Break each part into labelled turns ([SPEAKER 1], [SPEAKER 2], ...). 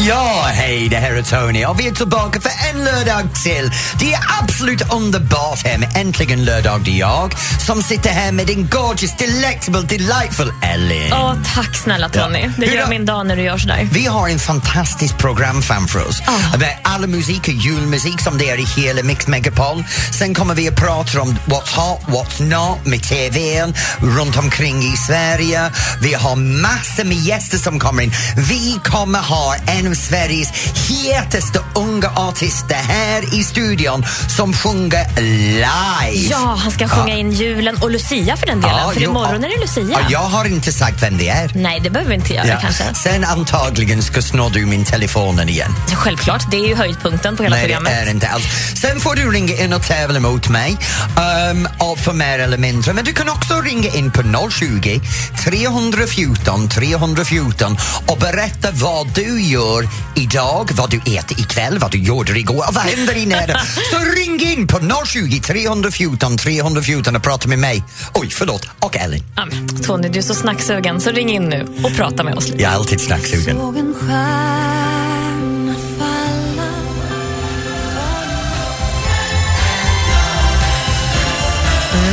[SPEAKER 1] Ja, hej, det här är Tony och vi är tillbaka för en lördag till. Det är absolut underbart här med Äntligen lördag. Det är jag som sitter här med din gorgeous, delectable, delightful Ellen.
[SPEAKER 2] Åh, tack snälla Tony.
[SPEAKER 1] Ja.
[SPEAKER 2] Det
[SPEAKER 1] Hur
[SPEAKER 2] gör
[SPEAKER 1] då?
[SPEAKER 2] min dag när du gör sådär.
[SPEAKER 1] Vi har en fantastisk program framför oss
[SPEAKER 2] Ah.
[SPEAKER 1] med all musik och julmusik som det är i hela Mix Megapol. Sen kommer vi att prata om what's hot, what's not med TVn runt omkring i Sverige. Vi har massor med gäster som kommer in. Vi kommer ha en av Sveriges hetaste unga artister här i studion som sjunger live.
[SPEAKER 2] Ja, han ska sjunga in julen och Lucia för den delen. för
[SPEAKER 1] jo,
[SPEAKER 2] imorgon
[SPEAKER 1] ja.
[SPEAKER 2] är det Lucia.
[SPEAKER 1] Ja, jag har inte sagt vem det är.
[SPEAKER 2] Nej, det behöver vi inte göra
[SPEAKER 1] Ja.
[SPEAKER 2] kanske.
[SPEAKER 1] Sen antagligen ska snor du min telefonen igen.
[SPEAKER 2] Självklart, det är ju höjdpunkten på hela
[SPEAKER 1] Nej,
[SPEAKER 2] programmet.
[SPEAKER 1] det är inte alls. Sen får du ringa in och tävla mot mig, um, och för mer eller mindre. Men du kan också ringa in på 020 314 314 och berätta vad du gör idag, vad du äter ikväll, vad du gjorde igår och vad händer i nära. Så ring in på 020 314 314 och prata med mig. Oj, förlåt, och Ellen.
[SPEAKER 2] Ja, men, Tony, du är så snacksugen, så ring in nu och prata med oss. lite.
[SPEAKER 1] Jag är alltid snacksugen.
[SPEAKER 3] Såg en stjärna falla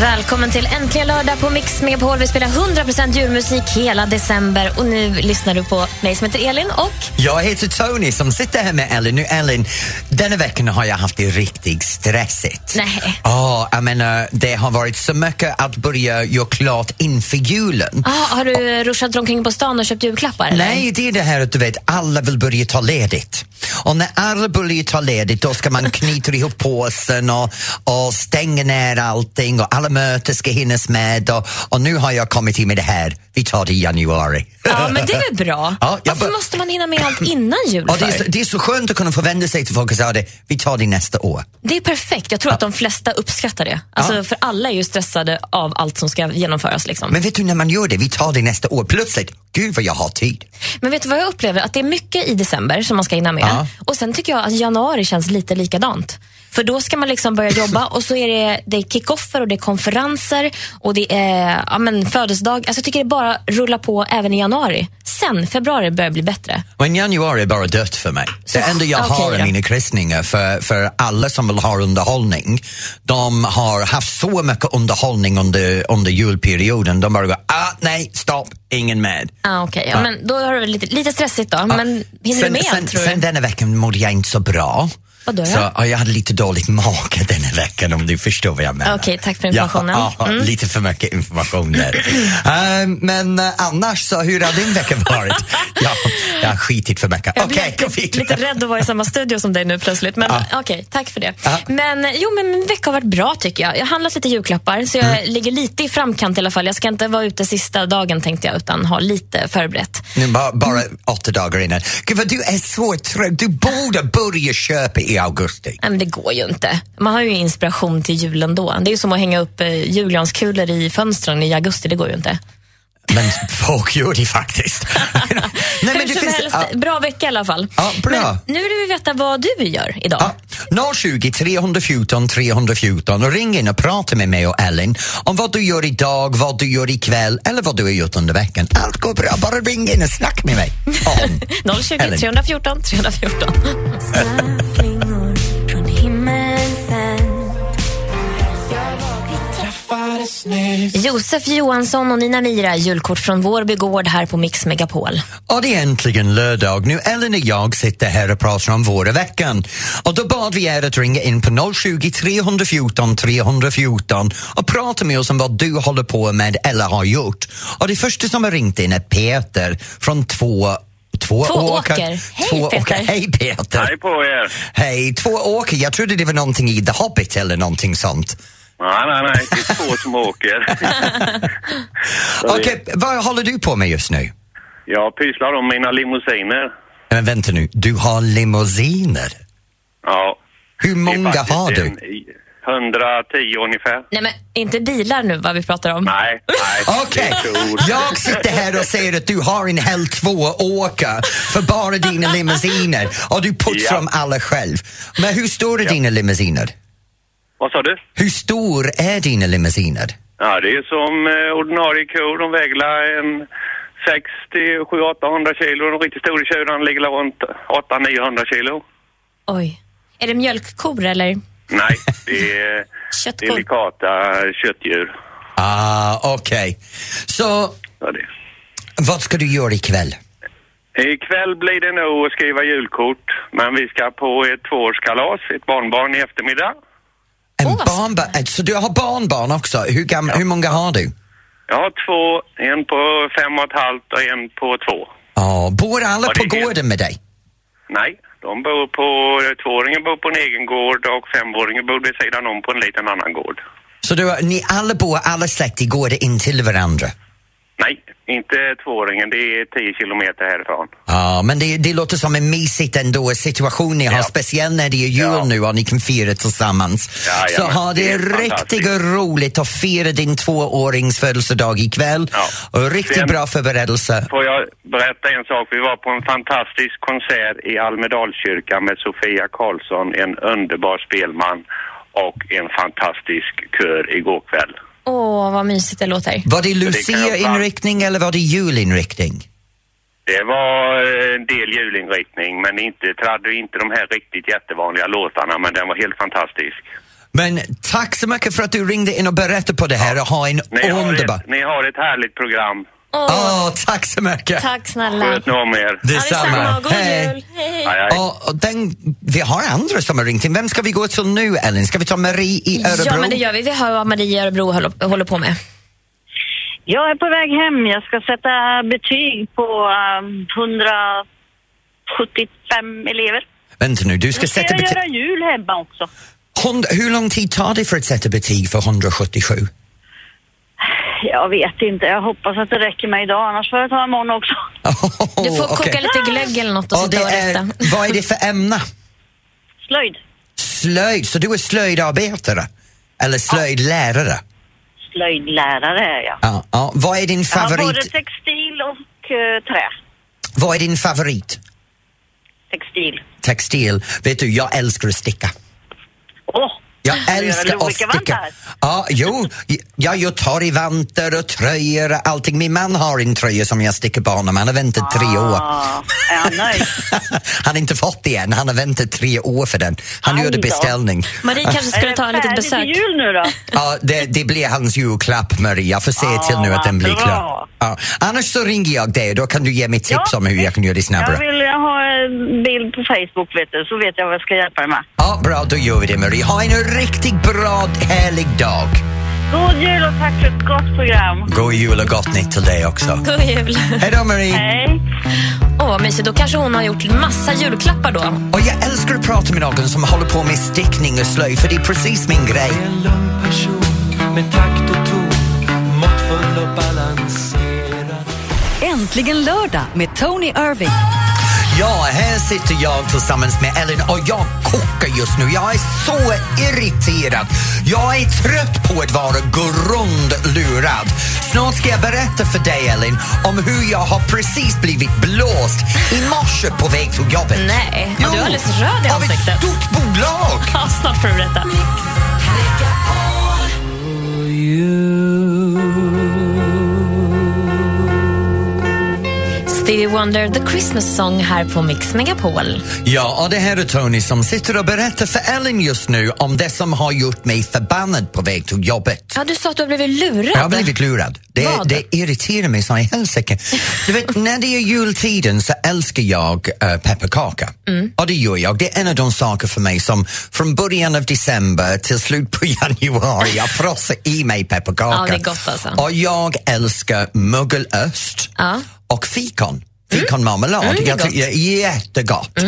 [SPEAKER 2] Välkommen till Äntligen lördag på Mix Megapol. Vi spelar 100% julmusik hela december och nu lyssnar du på mig som heter Elin och
[SPEAKER 1] Jag heter Tony som sitter här med Ellen. Nu Ellen, denna veckan har jag haft det riktigt stressigt.
[SPEAKER 2] Nej.
[SPEAKER 1] Ja, jag menar, det har varit så mycket att börja göra klart inför julen.
[SPEAKER 2] ah, har du eh, ruschat omkring på stan och köpt julklappar? eller?
[SPEAKER 1] Nej, det är det här att du vet, alla vill börja ta ledigt. Och när alla börjar ta ledigt då ska man knyta ihop påsen och, och stänga ner allting och alla möten ska hinnas med och, och nu har jag kommit in med det här. Vi tar det i januari.
[SPEAKER 2] Ja, men det är väl bra?
[SPEAKER 1] Ja, jag
[SPEAKER 2] Varför
[SPEAKER 1] bör-
[SPEAKER 2] måste man hinna med allt innan jul?
[SPEAKER 1] Och det, är så,
[SPEAKER 2] för?
[SPEAKER 1] det är så skönt att kunna förvänta sig till folk och säga det, vi tar det nästa år.
[SPEAKER 2] Det är perfekt. Jag tror att de flesta uppskattar det. Alltså, För alla är ju stressade av allt som ska genomföras. Liksom. Men,
[SPEAKER 1] Men vet du när man gör det, vi tar det nästa år, plötsligt, gud vad jag har tid.
[SPEAKER 2] vet du vad jag upplever? Att det är mycket i december som man ska hinna med.
[SPEAKER 1] Ja.
[SPEAKER 2] Och sen tycker jag att januari känns lite likadant. För då ska man liksom börja jobba och så är det, det är kickoffer och det är konferenser och det är ja, men födelsedag. Alltså jag tycker det bara rullar på även i januari. Sen, februari börjar bli bättre.
[SPEAKER 1] Men januari är bara dött för mig. det enda jag
[SPEAKER 2] okej
[SPEAKER 1] har är
[SPEAKER 2] då.
[SPEAKER 1] mina kryssningar för, för alla som vill ha underhållning. De har haft så mycket underhållning under, under julperioden. De bara går, ah, nej, stopp, ingen med.
[SPEAKER 2] Ah, okay. ja, men då har du väl lite, lite stressigt då, men hinner du
[SPEAKER 1] Ah, sen,
[SPEAKER 2] med
[SPEAKER 1] sen,
[SPEAKER 2] allt tror
[SPEAKER 1] sen
[SPEAKER 2] du?
[SPEAKER 1] denna veckan mådde jag inte så bra.
[SPEAKER 2] Vadå då?
[SPEAKER 1] så, ja, jag hade lite dåligt mage denna veckan om du förstår vad jag menar.
[SPEAKER 2] Okej, tack för informationen. Mm.
[SPEAKER 1] Ja, ja, Lite för mycket information där. Ehm, men eh, annars, så, hur har din vecka varit? ja, jag har skitit för mycket.
[SPEAKER 2] Jag
[SPEAKER 1] Okej,
[SPEAKER 2] blev
[SPEAKER 1] gå vidare.
[SPEAKER 2] lite rädd att vara i samma studio som dig nu plötsligt. Men okej, tack för det.
[SPEAKER 1] Ja.
[SPEAKER 2] Men jo, men min vecka har varit bra tycker jag. Jag har handlat lite julklappar, så jag
[SPEAKER 1] Mm.
[SPEAKER 2] ligger lite i framkant i alla fall. Jag ska inte vara ute sista dagen tänkte jag, utan ha lite förberett.
[SPEAKER 1] Nu bara, bara åtta dagar innan. Gud vad du är så trög. Du borde börja köpa i augusti.
[SPEAKER 2] Nej, men det går ju inte. Man har ju inspiration till julen då. Det är ju som att hänga upp eh, julgranskulor i fönstren i augusti, det går ju inte.
[SPEAKER 1] Men folk gör det faktiskt. Nej,
[SPEAKER 2] Hur som helst,
[SPEAKER 1] ja,
[SPEAKER 2] bra vecka i alla fall.
[SPEAKER 1] Ja, bra.
[SPEAKER 2] Men nu vill vi veta vad du gör idag.
[SPEAKER 1] ja, 020 314 314 och ring in och prata med mig och Ellen om vad du gör idag, vad du gör ikväll eller vad du har gjort under veckan. Allt går bra, bara ring in och snack med mig. Om.
[SPEAKER 2] 020
[SPEAKER 1] Ellen.
[SPEAKER 2] 314 314.
[SPEAKER 3] Flingor från himmelen sänd
[SPEAKER 2] Josef Johansson och Nina Mira, julkort från Vårby gård här på Mix Megapol.
[SPEAKER 1] Och det är äntligen lördag. Nu Ellen och jag sitter här och pratar om våra veckan. Och då bad vi er att ringa in på 020 314 314 och prata med oss om vad du håller på med eller har gjort. Och det första som har ringt in är Peter från två Två,
[SPEAKER 2] Tvååker. Hej,
[SPEAKER 1] Två
[SPEAKER 2] Peter.
[SPEAKER 1] åker. Hej Peter!
[SPEAKER 4] Hej på er!
[SPEAKER 1] Hej, två åker. Jag trodde det var någonting i The Hobbit eller någonting sånt.
[SPEAKER 4] Nej, nej, nej, det är två som åker. Så det-
[SPEAKER 1] Okej, vad håller du på med just nu?
[SPEAKER 4] Jag pysslar om mina limousiner.
[SPEAKER 1] Men vänta nu, du har limousiner.
[SPEAKER 4] Ja.
[SPEAKER 1] Hur
[SPEAKER 4] det är
[SPEAKER 1] många
[SPEAKER 4] faktiskt
[SPEAKER 1] har du?
[SPEAKER 4] en- 110 ungefär.
[SPEAKER 2] Nej men, inte bilar nu vad vi pratar om.
[SPEAKER 4] Nej, nej.
[SPEAKER 1] Okej,
[SPEAKER 4] det är tur.
[SPEAKER 1] jag sitter här och säger att du har en hel två att åka för bara dina limousiner och du putsar
[SPEAKER 4] Ja.
[SPEAKER 1] dem alla själv. Men hur stora är dina limousiner?
[SPEAKER 4] Vad sa du?
[SPEAKER 1] Hur stor är dina limousiner?
[SPEAKER 4] Ja, det är som eh, ordinarie kor. De väger en 60, 7, 800 kilo. De riktigt stora tjurarna ligger runt 8, 900 kilo.
[SPEAKER 2] Oj. Är det mjölkkor eller?
[SPEAKER 4] Nej, det är
[SPEAKER 2] Köttkor.
[SPEAKER 4] delikata köttdjur.
[SPEAKER 1] Ah, okej. Så
[SPEAKER 4] Ja, det.
[SPEAKER 1] vad ska du göra ikväll?
[SPEAKER 4] Ikväll blir det nog att skriva julkort, men vi ska på ett tvåårskalas, ett barnbarn i eftermiddag.
[SPEAKER 1] En
[SPEAKER 2] Åh, vad
[SPEAKER 1] barnbarn? Så du har barnbarn också? Hur, gam- hur många har du?
[SPEAKER 4] Jag har två, en på fem och ett halvt och en på två.
[SPEAKER 1] Ah, bor alla
[SPEAKER 4] Ja, det
[SPEAKER 1] på
[SPEAKER 4] är det.
[SPEAKER 1] gården med dig?
[SPEAKER 4] Nej, de bor på, tvååringen bor på en egen gård och femåringen bor vid sidan om på en liten annan gård.
[SPEAKER 1] Så du, har- ni alla bor, alla släkt i gården intill varandra?
[SPEAKER 4] Nej, inte tvååringen, det är tio kilometer härifrån.
[SPEAKER 1] Ja, men det, det låter som en mysigt ändå situation ni har,
[SPEAKER 4] Ja.
[SPEAKER 1] speciellt när det är jul
[SPEAKER 4] Ja.
[SPEAKER 1] nu och ni kan fira tillsammans.
[SPEAKER 4] Jajamän,
[SPEAKER 1] så ha
[SPEAKER 4] det
[SPEAKER 1] det,
[SPEAKER 4] är
[SPEAKER 1] riktigt
[SPEAKER 4] fantastiskt.
[SPEAKER 1] roligt att fira din tvåårings födelsedag ikväll.
[SPEAKER 4] Ja.
[SPEAKER 1] Och riktigt
[SPEAKER 4] Sen-
[SPEAKER 1] bra förberedelse.
[SPEAKER 4] Får jag berätta en sak? Vi var på en fantastisk konsert i Almedalskyrkan med Sofia Karlsson, en underbar spelman och en fantastisk kör igår kväll.
[SPEAKER 2] Åh, vad mysigt det låter.
[SPEAKER 1] Var det
[SPEAKER 4] det kan jag
[SPEAKER 1] Lucia-inriktning eller var det julinriktning?
[SPEAKER 4] Det var eh, en del julinriktning, men inte, tradde inte de här riktigt jättevanliga låtarna, men den var helt fantastisk.
[SPEAKER 1] Men tack så mycket för att du ringde in och berättade på det här och ha en
[SPEAKER 4] Ni har,
[SPEAKER 1] underbar...
[SPEAKER 4] ett, ni har ett härligt program.
[SPEAKER 2] Åh,
[SPEAKER 1] Åh, tack så mycket!
[SPEAKER 2] tack snälla.
[SPEAKER 4] Sköt nu om er.
[SPEAKER 2] Ja, detsamma. God jul. Hej, hej.
[SPEAKER 4] Hej, hej.
[SPEAKER 1] Och, och den, vi har andra som har ringt in. Vem ska vi gå till nu, Ellen? Ska vi ta Marie i Örebro?
[SPEAKER 2] Ja, men det gör vi. Vi hör vad Maria i Örebro håller, håller på med.
[SPEAKER 5] Jag är på väg hem. Jag ska sätta betyg på ehm, 175 elever.
[SPEAKER 1] Vänta nu, du ska
[SPEAKER 5] Nu ska
[SPEAKER 1] sätta
[SPEAKER 5] jag
[SPEAKER 1] betyg.
[SPEAKER 5] göra jul hemma också.
[SPEAKER 1] Hund- Hur lång tid tar det för att sätta betyg för 177?
[SPEAKER 5] Jag vet inte. Jag hoppas att det räcker med idag. Annars får jag ta imorgon också.
[SPEAKER 2] Du får koka
[SPEAKER 1] Oh, okej.
[SPEAKER 2] lite glögg eller något och
[SPEAKER 1] Och det
[SPEAKER 2] sitta och rätta.
[SPEAKER 1] är, vad är det för ämne?
[SPEAKER 5] Slöjd.
[SPEAKER 1] Slöjd, så du är slöjdarbetare? Eller slöjdlärare?
[SPEAKER 5] Slöjdlärare är jag.
[SPEAKER 1] Ja. ja. Vad är din
[SPEAKER 5] Jag har både
[SPEAKER 1] favorit?
[SPEAKER 5] textil och eh, trä.
[SPEAKER 1] Vad är din favorit?
[SPEAKER 5] Textil.
[SPEAKER 1] Textil. Vet du, jag älskar att sticka.
[SPEAKER 5] Åh!
[SPEAKER 1] Jag
[SPEAKER 5] göra
[SPEAKER 1] älskar att
[SPEAKER 5] olika
[SPEAKER 1] sticka.
[SPEAKER 5] vantar.
[SPEAKER 1] Ja, jo, ja, jag tar i vantar och tröjor och allting. Min man har en tröja som jag sticker på honom. Han har väntat tre år.
[SPEAKER 5] Ah, är jag nöjd?
[SPEAKER 1] han har inte fått det än. Han har väntat tre år för den. Han
[SPEAKER 5] Aj
[SPEAKER 1] gjorde
[SPEAKER 5] då.
[SPEAKER 1] beställning.
[SPEAKER 2] Marie kanske
[SPEAKER 5] Är
[SPEAKER 2] skulle
[SPEAKER 5] det
[SPEAKER 2] ta en liten
[SPEAKER 5] färdigt
[SPEAKER 2] besök.
[SPEAKER 5] till jul nu då?
[SPEAKER 1] Ja, det, det blir hans julklapp, Maria. Jag får se till nu att den blir
[SPEAKER 5] Ah, bra.
[SPEAKER 1] klar. Ja. Annars så ringer jag dig och då kan du ge mig tips
[SPEAKER 5] Ja,
[SPEAKER 1] om hur jag kan göra det
[SPEAKER 5] Jag
[SPEAKER 1] snabbare.
[SPEAKER 5] vill ha en bild på Facebook vet du, så vet jag vad jag ska hjälpa dig med.
[SPEAKER 1] Ja, bra, då gör vi det, Marie. Ha en riktigt bra, härlig dag.
[SPEAKER 5] God jul och tack för ett gott program.
[SPEAKER 1] God jul och gott nytt till dig också.
[SPEAKER 2] God jul.
[SPEAKER 1] Hej då, Marie.
[SPEAKER 5] Hej.
[SPEAKER 2] Åh, vad mysigt. Då kanske hon har gjort massa julklappar då.
[SPEAKER 1] Och jag älskar att prata med någon som håller på med stickning och slöjd för det är precis min grej.
[SPEAKER 6] Äntligen lördag med Tony Irving.
[SPEAKER 1] Ja, här sitter jag tillsammans med Ellen och jag kokar just nu. Jag är så irriterad. Jag är trött på att vara grundlurad. Snart ska jag berätta för dig, Ellen, om hur jag har precis blivit blåst i morse på väg till jobbet.
[SPEAKER 2] Nej, du är alldeles röd i
[SPEAKER 1] Av ett
[SPEAKER 2] ansiktet.
[SPEAKER 1] stort bolag!
[SPEAKER 2] Ja, snart får du berätta. Stevie Wonder, The Christmas Song här på Mix Megapol.
[SPEAKER 1] Ja, och det här är Tony som sitter och berättar för Ellen just nu om det som har gjort mig förbannad på väg till jobbet.
[SPEAKER 2] Ja, du sa att du har blivit lurad.
[SPEAKER 1] Jag har blivit lurad. Det,
[SPEAKER 2] Vad?
[SPEAKER 1] det irriterar mig så i helsike. Du vet, när det är jultiden så älskar jag eh, pepparkaka.
[SPEAKER 2] Mm.
[SPEAKER 1] Och det gör jag. Det är en av de saker för mig som från början av december till slut på januari, jag frossar i mig pepparkaka.
[SPEAKER 2] Ja, det är gott alltså.
[SPEAKER 1] Och jag älskar mögelöst
[SPEAKER 2] Ja.
[SPEAKER 1] och fikon. Fikonmarmelad.
[SPEAKER 2] Mm, det är
[SPEAKER 1] jag
[SPEAKER 2] gott. Mm.
[SPEAKER 1] tycker det är jättegott.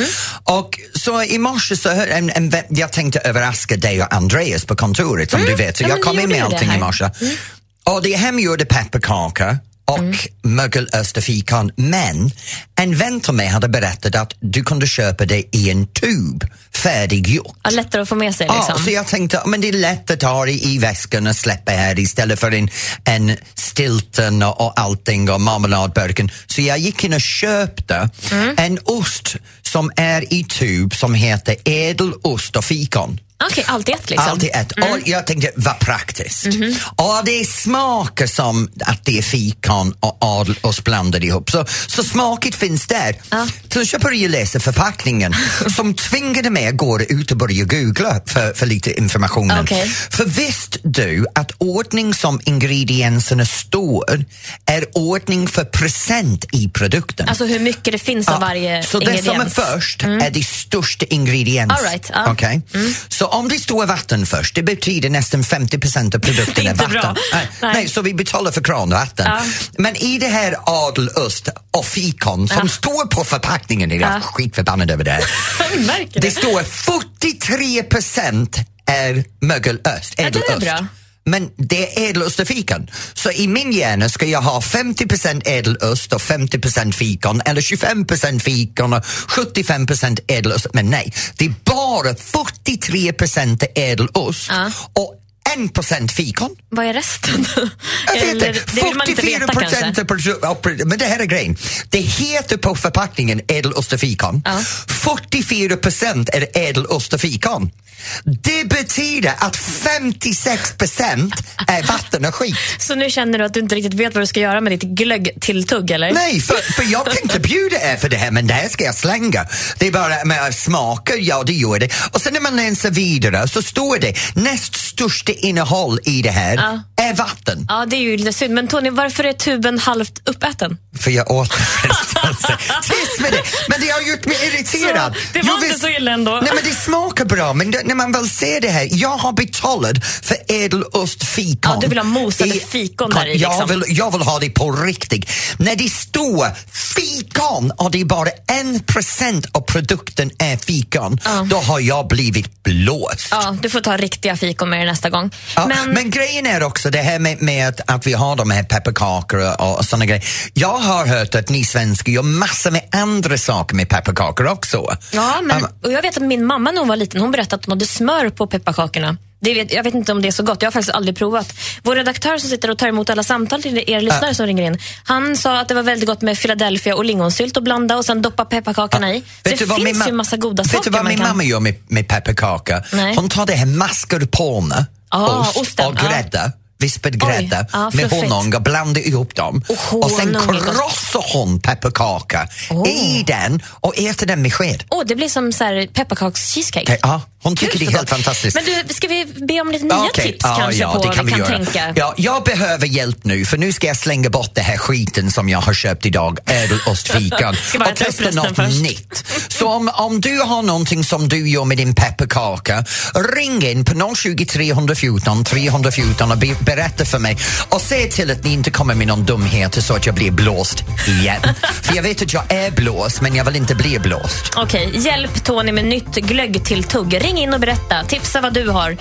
[SPEAKER 1] Och så i morse så hör, en, en, vän- jag tänkte överraska dig och Andreas på kontoret som du vet. Så
[SPEAKER 2] Mm. Ja,
[SPEAKER 1] jag
[SPEAKER 2] men
[SPEAKER 1] kom
[SPEAKER 2] vi
[SPEAKER 1] in med
[SPEAKER 2] gjorde det Mm.
[SPEAKER 1] allting i
[SPEAKER 2] här.
[SPEAKER 1] morse. Och det är hemgjorda pepparkakor och
[SPEAKER 2] Mm.
[SPEAKER 1] mögelösterfikon. Men en vän till mig hade berättat att du kunde köpa det i en tub, färdiggjort.
[SPEAKER 2] Ja, lättare att få med sig.
[SPEAKER 1] Ja,
[SPEAKER 2] Liksom.
[SPEAKER 1] så jag tänkte men det är lätt att ha det i väskan och släppa här istället för en, en stilton och, och allting och marmeladburken. Så jag gick in och köpte
[SPEAKER 2] Mm.
[SPEAKER 1] en ost som är i tub som heter ädelost och fikon.
[SPEAKER 2] Okej, allt i ett liksom. Mhm.
[SPEAKER 1] Allt i ett. Och jag tänkte, vad praktiskt. Och det smakar som att det är fikon och adelost blandade ihop. Så, så smaket finns där. Så jag började läsa förpackningen som tvingade mig att gå ut och börja googla för, för lite informationen.
[SPEAKER 2] Okej.
[SPEAKER 1] För visst du att ordning som ingredienserna står är ordning för procent i produkten?
[SPEAKER 2] Alltså hur mycket det finns av
[SPEAKER 1] Ja,
[SPEAKER 2] varje
[SPEAKER 1] så det
[SPEAKER 2] ingrediens. Mm.
[SPEAKER 1] som är först är det största ingrediens.
[SPEAKER 2] All right, ja. Mm.
[SPEAKER 1] Okej? Så om det står vatten först, det betyder nästan 50 procent av produkten
[SPEAKER 2] Det är
[SPEAKER 1] är
[SPEAKER 2] inte
[SPEAKER 1] vatten.
[SPEAKER 2] bra.
[SPEAKER 1] Nej.
[SPEAKER 2] Nej.
[SPEAKER 1] Nej, så vi betalar för kranvatten.
[SPEAKER 2] Ja.
[SPEAKER 1] Men i det här adelost och fikon som står på förpackningen, jag är skitförbannad över det. här.
[SPEAKER 2] Vi märker
[SPEAKER 1] det
[SPEAKER 2] det.
[SPEAKER 1] står 43 procent är mögelöst,
[SPEAKER 2] det är
[SPEAKER 1] ädelost.
[SPEAKER 2] bra.
[SPEAKER 1] Men det är ädelost och fikon. Så i min hjärna ska jag ha 50 ädelost och 50 fikon eller 25 fikon och 75 ädelost. Men nej, det är bara 43 ädelost och 1 fikon.
[SPEAKER 2] Vad är resten?
[SPEAKER 1] Alltså, Jag vet
[SPEAKER 2] Eller,
[SPEAKER 1] inte,
[SPEAKER 2] det vill man inte
[SPEAKER 1] 44
[SPEAKER 2] veta
[SPEAKER 1] procent
[SPEAKER 2] kanske.
[SPEAKER 1] av produ- av produ- Men det här är grejen. Det heter på förpackningen ädelost och fikon. 44 procent är ädelost och fikon. Det betyder att 56 procent är vatten och skit.
[SPEAKER 2] Så nu känner du att du inte riktigt vet vad du ska göra med ditt glöggtilltugg eller?
[SPEAKER 1] Nej, för, för jag kan inte bjuda er för det här, men det här ska jag slänga. Det är bara med smaker, ja det gör det. Och sen när man läser vidare så står det näst största innehåll i det här är vatten.
[SPEAKER 2] Ja, det är ju lite synd. Men Tony, varför är tuben halvt uppäten?
[SPEAKER 1] För jag åt den förresten. Tyst med det! Men det har gjort mig irriterad.
[SPEAKER 2] Så, det var
[SPEAKER 1] Jo,
[SPEAKER 2] inte så illa ändå.
[SPEAKER 1] Nej, men det smakar bra, men det, när man väl ser det här. Jag har betalat för ädelost fikon.
[SPEAKER 2] Ja, du vill ha mosade fikon där i,
[SPEAKER 1] jag,
[SPEAKER 2] liksom.
[SPEAKER 1] vill, jag vill ha det på riktigt. När det står fikon och det är bara en procent av produkten är fikon, då har jag blivit blåst.
[SPEAKER 2] Ja, du får ta riktiga fikon med dig nästa gång.
[SPEAKER 1] Ja, men,
[SPEAKER 2] men,
[SPEAKER 1] grejen är också det här med, med att, att vi har de här pepparkakor och, och såna grejer. Jag har hört att ni svenskar gör massor med andra saker med pepparkakor också.
[SPEAKER 2] ja, men
[SPEAKER 1] Um,
[SPEAKER 2] och jag vet att min mamma när hon var liten hon berättade att hon hade smör på pepparkakorna. Det vet, jag vet inte om det är så gott, jag har faktiskt aldrig provat. Vår redaktör som sitter och tar emot alla samtal till
[SPEAKER 1] Äh.
[SPEAKER 2] er lyssnare som ringer in, han sa att det var väldigt gott med Philadelphia och lingonsylt att blanda och sen doppa pepparkakorna i. Så det
[SPEAKER 1] Äh, vet du vad min
[SPEAKER 2] finns
[SPEAKER 1] ma-
[SPEAKER 2] ju massa goda
[SPEAKER 1] vet du
[SPEAKER 2] saker
[SPEAKER 1] vad
[SPEAKER 2] man
[SPEAKER 1] min
[SPEAKER 2] kan-
[SPEAKER 1] mamma gör med, med pepparkaka?
[SPEAKER 2] Nej.
[SPEAKER 1] Hon tar det här mascarpone,
[SPEAKER 2] Ah,
[SPEAKER 1] ost
[SPEAKER 2] osten,
[SPEAKER 1] och
[SPEAKER 2] ja.
[SPEAKER 1] grädde vispad
[SPEAKER 2] Oj,
[SPEAKER 1] grädde
[SPEAKER 2] ja,
[SPEAKER 1] med
[SPEAKER 2] fluffigt.
[SPEAKER 1] honung och blandar ihop dem.
[SPEAKER 2] Och
[SPEAKER 1] och sen
[SPEAKER 2] honung är gott.
[SPEAKER 1] krossar hon pepparkaka
[SPEAKER 2] Åh.
[SPEAKER 1] i den och äter den med sked.
[SPEAKER 2] Åh, det blir som så här pepparkaks-cheesecake.
[SPEAKER 1] Ja, hon tycker
[SPEAKER 2] Gud,
[SPEAKER 1] det är
[SPEAKER 2] så
[SPEAKER 1] helt
[SPEAKER 2] gott.
[SPEAKER 1] fantastiskt.
[SPEAKER 2] Men du, ska vi be om lite nya
[SPEAKER 1] Okej,
[SPEAKER 2] tips kanske på vad vi kan tänka?
[SPEAKER 1] Ja, jag behöver hjälp nu för nu ska jag slänga bort det här skiten som jag har köpt idag, ädelostfikan,
[SPEAKER 2] Ska bara
[SPEAKER 1] och
[SPEAKER 2] ta upp
[SPEAKER 1] testa
[SPEAKER 2] resten
[SPEAKER 1] något
[SPEAKER 2] först.
[SPEAKER 1] nytt. Så om, om du har någonting som du gör med din pepparkaka, ring in på 020 314 314 och be, berätta för mig och se till att ni inte kommer med någon dumhet så att jag blir blåst igen. för jag vet att jag är blåst men jag vill inte bli blåst.
[SPEAKER 2] Okej, hjälp Tony med nytt glöggtilltugg. Ring in och berätta. Tipsa vad du har.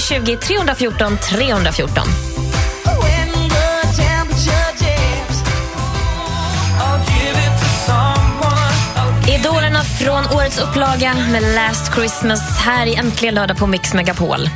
[SPEAKER 2] 020 314 314. Idolerna från årets upplaga med Last Christmas här i Äntligen lördag på Mix Megapol.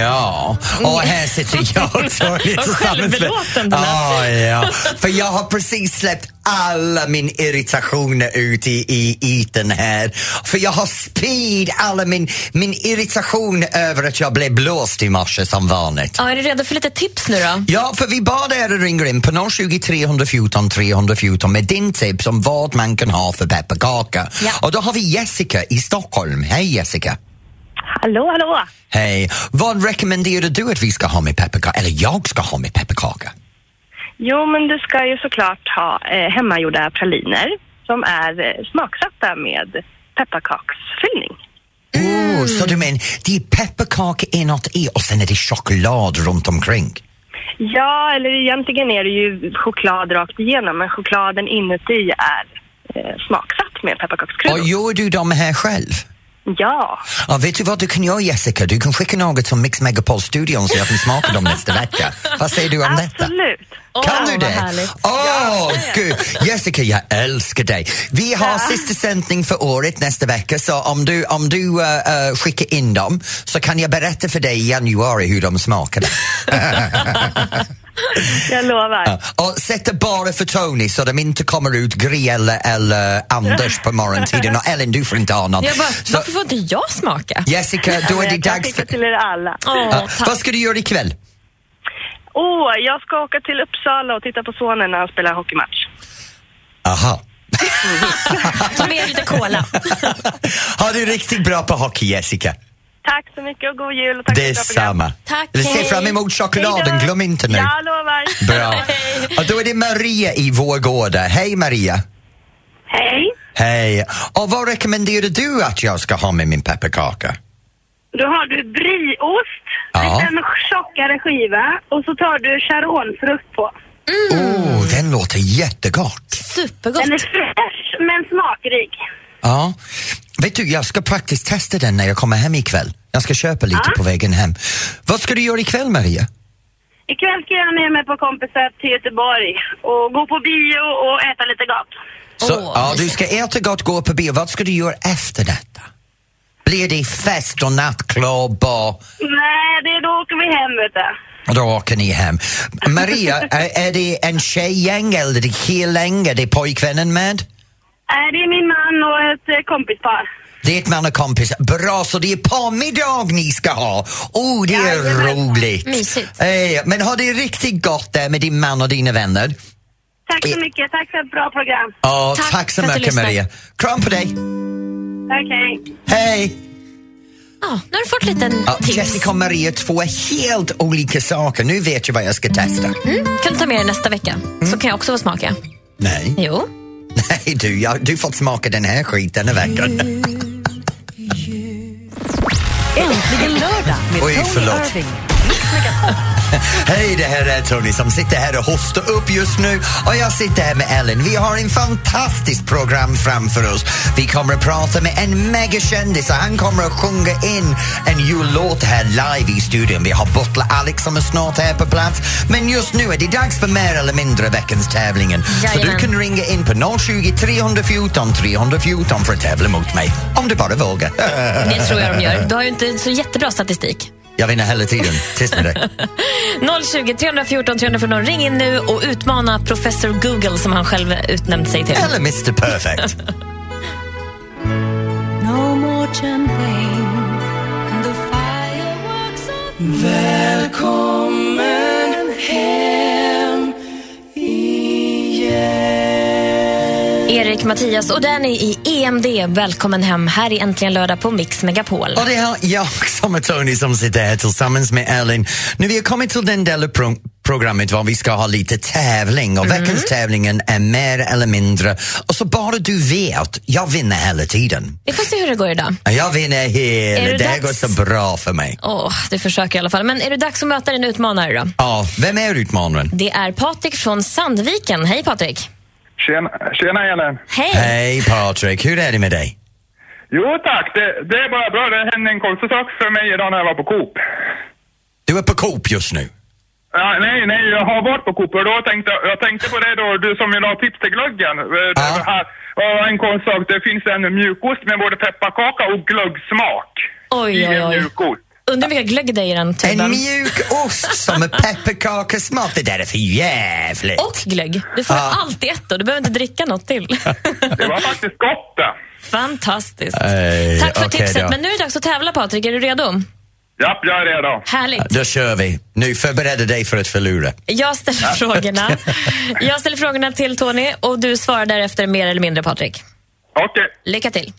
[SPEAKER 1] Ja, och här sitter jag också. och är
[SPEAKER 2] Mm. Vad
[SPEAKER 1] tillsammans med-
[SPEAKER 2] självbelåten du lät.
[SPEAKER 1] Ja, ja. För jag har precis släppt alla min irritationer ut i, i iten här. För jag har spid alla min, min irritation över att jag blev blåst i morse som vanligt.
[SPEAKER 2] Ja, är du redo för lite tips nu då?
[SPEAKER 1] Ja, för vi bad er att ringa in på 020 314 314 med din tips om vad man kan ha för pepparkaka.
[SPEAKER 2] Ja.
[SPEAKER 1] Och då har vi Jessica i Stockholm. Hej Jessica!
[SPEAKER 5] Hallå, hallå!
[SPEAKER 1] Hej. Vad rekommenderar du att vi ska ha med pepparkaka? Eller jag ska ha med pepparkaka?
[SPEAKER 5] Jo, men du ska ju såklart ha eh, hemmagjorda praliner som är eh, smaksatta med pepparkaksfyllning.
[SPEAKER 1] Oh, så du menar, det är pepparkaka inåt i och sen är det choklad runt omkring?
[SPEAKER 5] Ja, eller egentligen är det ju choklad rakt igenom, men chokladen inuti är eh, smaksatt med
[SPEAKER 1] Och
[SPEAKER 5] pepparkakskryddor.
[SPEAKER 1] gör du de här själv?
[SPEAKER 5] Ja,
[SPEAKER 1] Ja, vet du vad du kan göra Jessica? Du kan skicka något som Mix Megapol-studion så jag kan smaka dem nästa vecka. Vad säger du om detta?
[SPEAKER 5] absolut.
[SPEAKER 1] Kan
[SPEAKER 2] Åh,
[SPEAKER 1] du
[SPEAKER 2] vad
[SPEAKER 1] det?
[SPEAKER 2] härligt.
[SPEAKER 1] Åh, gud! Jessica, jag älskar dig. Vi har sista sändning för året nästa vecka så om du, om du eh, eh, skickar in dem så kan jag berätta för dig i januari hur de smakade.
[SPEAKER 5] Jag lovar.
[SPEAKER 1] Och sätta bara för Tony så de inte kommer ut Griella eller Anders på morgontiden och Ellen, du får inte ha någon.
[SPEAKER 2] Jag bara,
[SPEAKER 1] Så,
[SPEAKER 2] varför får inte jag smaka?
[SPEAKER 1] Jessica, då är det
[SPEAKER 5] Jag kan
[SPEAKER 1] dags
[SPEAKER 5] skicka
[SPEAKER 1] för...
[SPEAKER 5] till er alla.
[SPEAKER 2] Åh,
[SPEAKER 1] Ja,
[SPEAKER 2] tack.
[SPEAKER 1] vad ska du göra ikväll?
[SPEAKER 5] Åh, jag ska åka till Uppsala och titta på sonen när han spelar hockeymatch.
[SPEAKER 1] Aha.
[SPEAKER 2] Ta med lite cola.
[SPEAKER 1] Har du riktigt bra på hockey, Jessica?
[SPEAKER 5] Tack så mycket och god jul. Och tack för ett bra program.
[SPEAKER 1] Detsamma.
[SPEAKER 2] Tack,
[SPEAKER 1] Vi ser
[SPEAKER 2] hej.
[SPEAKER 1] fram emot chokladen,
[SPEAKER 5] Hej då.
[SPEAKER 1] glöm inte nu.
[SPEAKER 5] Jag lovar.
[SPEAKER 1] Bra. Och då är det Maria i Vårgårda. Hej Maria.
[SPEAKER 5] Hej.
[SPEAKER 1] Hej. Och vad rekommenderar du att jag ska ha med min pepparkaka?
[SPEAKER 5] Då har du brieost,
[SPEAKER 1] Ja.
[SPEAKER 5] en tjockare skiva och så tar du charonfrukt på.
[SPEAKER 2] Mm.
[SPEAKER 1] Åh, oh, den låter jättegott.
[SPEAKER 2] Supergott.
[SPEAKER 5] Den är fräsch men smakrik.
[SPEAKER 1] Ja. Vet du, jag ska faktiskt testa den när jag kommer hem ikväll. Jag ska köpa lite på vägen hem. Vad ska du göra ikväll Maria?
[SPEAKER 5] Ikväll ska jag med mig på kompisar till Göteborg och gå på bio och äta lite gott.
[SPEAKER 1] Så,
[SPEAKER 2] Åh,
[SPEAKER 1] ja, du
[SPEAKER 2] mysigt.
[SPEAKER 1] ska äta gott, gå på bio. Vad ska du göra efter detta? Blir det fest och nattklubb och,
[SPEAKER 5] Nej, det då åker vi hem vet du.
[SPEAKER 1] och då åker ni hem? Maria, är, är det en tjejgäng eller är det killgäng? Är det pojkvännen med?
[SPEAKER 5] Nej, Det är min man och ett eh, kompispar.
[SPEAKER 1] Det är ett man och kompis. Bra, så det är parmiddag ni ska ha. Oh, det är
[SPEAKER 5] Jajamensan.
[SPEAKER 1] roligt.
[SPEAKER 2] Mysigt.
[SPEAKER 1] Eh, men ha det riktigt gott där med din man och dina vänner.
[SPEAKER 5] Tack
[SPEAKER 1] E-
[SPEAKER 5] så mycket. Tack för ett bra program.
[SPEAKER 1] Ja, tack,
[SPEAKER 2] Tack
[SPEAKER 1] så
[SPEAKER 2] för att du
[SPEAKER 1] mycket
[SPEAKER 2] lyssnar.
[SPEAKER 1] Maria. Kram på dig.
[SPEAKER 5] Tack, hej.
[SPEAKER 1] Hej!
[SPEAKER 2] Ja, nu har du fått lite
[SPEAKER 1] Ja,
[SPEAKER 2] tips.
[SPEAKER 1] Jessica och Maria, två helt olika saker. Nu vet jag vad jag ska testa.
[SPEAKER 2] Kan du ta med dig nästa vecka? Så kan jag också få smaka.
[SPEAKER 1] Nej.
[SPEAKER 2] Jo.
[SPEAKER 1] Nej du, jag, du får smaka den här skiten den här veckan.
[SPEAKER 6] Äntligen lördag med
[SPEAKER 1] Oj,
[SPEAKER 6] Tony
[SPEAKER 1] förlåt.
[SPEAKER 6] Irving.
[SPEAKER 1] Hej, det här är Tony som sitter här och hostar upp just nu och jag sitter här med Ellen. Vi har en fantastisk program framför oss. Vi kommer att prata med en megakändis och han kommer att sjunga in en jullåt här live i studion. Vi har Butler Alex som är snart här på plats. Men just nu är det dags för mer eller mindre veckans tävlingen. Så du
[SPEAKER 2] Jajamän.
[SPEAKER 1] kan ringa in på 020 314 314 för att tävla mot mig. Om du bara vågar.
[SPEAKER 2] Det tror jag de gör. Du har ju inte så jättebra statistik.
[SPEAKER 1] Jag vinner hela tiden. Tyst med dig.
[SPEAKER 2] 020 314 314. Ring in nu och utmana professor Google som han själv utnämnt sig till.
[SPEAKER 1] Eller Mr Perfect.
[SPEAKER 3] No more champagne and the fireworks are
[SPEAKER 2] Erik, Mattias och Danny i EMD. Välkommen hem. Här är Äntligen lördag på Mix Megapol.
[SPEAKER 1] Och det är jag som är Tony som sitter här tillsammans med Ellen. Nu vi har kommit till den delen av pro programmet var vi ska ha lite tävling och
[SPEAKER 2] Mhm.
[SPEAKER 1] veckans tävlingen är mer eller mindre. Och så bara du vet, jag vinner hela tiden.
[SPEAKER 2] Vi får se hur det går idag.
[SPEAKER 1] Jag vinner
[SPEAKER 2] Är
[SPEAKER 1] hela,
[SPEAKER 2] det
[SPEAKER 1] det här går
[SPEAKER 2] dags?
[SPEAKER 1] så bra för mig.
[SPEAKER 2] Åh, du försöker i alla fall. Men är det dags att möta din utmanare då?
[SPEAKER 1] Ja, vem är utmanaren?
[SPEAKER 2] Det är Patrik från Sandviken. Hej Patrik!
[SPEAKER 7] Tjena, tjena Ellen.
[SPEAKER 2] Hej!
[SPEAKER 1] Hej Patrik, hur är det med dig?
[SPEAKER 7] Jo tack, det, det är bara bra. Det hände en konstig sak för mig idag när jag var på Coop.
[SPEAKER 1] Du är på Coop just nu.
[SPEAKER 7] Ja, nej, nej, jag har varit på Coop och då tänkte jag- jag tänkte på det då, du som vill ha tips till glöggen. Eh,
[SPEAKER 1] Ja.
[SPEAKER 7] det här- ja, en konstig sak, det finns en mjukost med både pepparkaka och glöggsmak.
[SPEAKER 2] Oj,
[SPEAKER 7] I
[SPEAKER 2] oj,
[SPEAKER 7] en
[SPEAKER 2] oj.
[SPEAKER 7] mjukost.
[SPEAKER 2] Undrar vilka glögg det är i den
[SPEAKER 1] En
[SPEAKER 2] tuben.
[SPEAKER 1] mjuk ost som är pepparkakesmak. Det där är för jävligt.
[SPEAKER 2] Och glögg. Du får
[SPEAKER 1] Ja.
[SPEAKER 2] allt i ett då. Du behöver inte dricka något till.
[SPEAKER 7] Det var faktiskt gott det.
[SPEAKER 2] Fantastiskt.
[SPEAKER 1] Ej,
[SPEAKER 2] Tack för
[SPEAKER 1] okej
[SPEAKER 2] tipset.
[SPEAKER 1] då.
[SPEAKER 2] Men nu är det dags att tävla Patrik. Är du redo?
[SPEAKER 7] Japp, jag är redo.
[SPEAKER 2] Härligt.
[SPEAKER 1] Då kör vi. Nu förbereder dig för att förlora.
[SPEAKER 2] Jag ställer frågorna. Jag ställer frågorna till Tony och du svarar därefter mer eller mindre Patrik.
[SPEAKER 7] Okej,
[SPEAKER 2] Lycka till.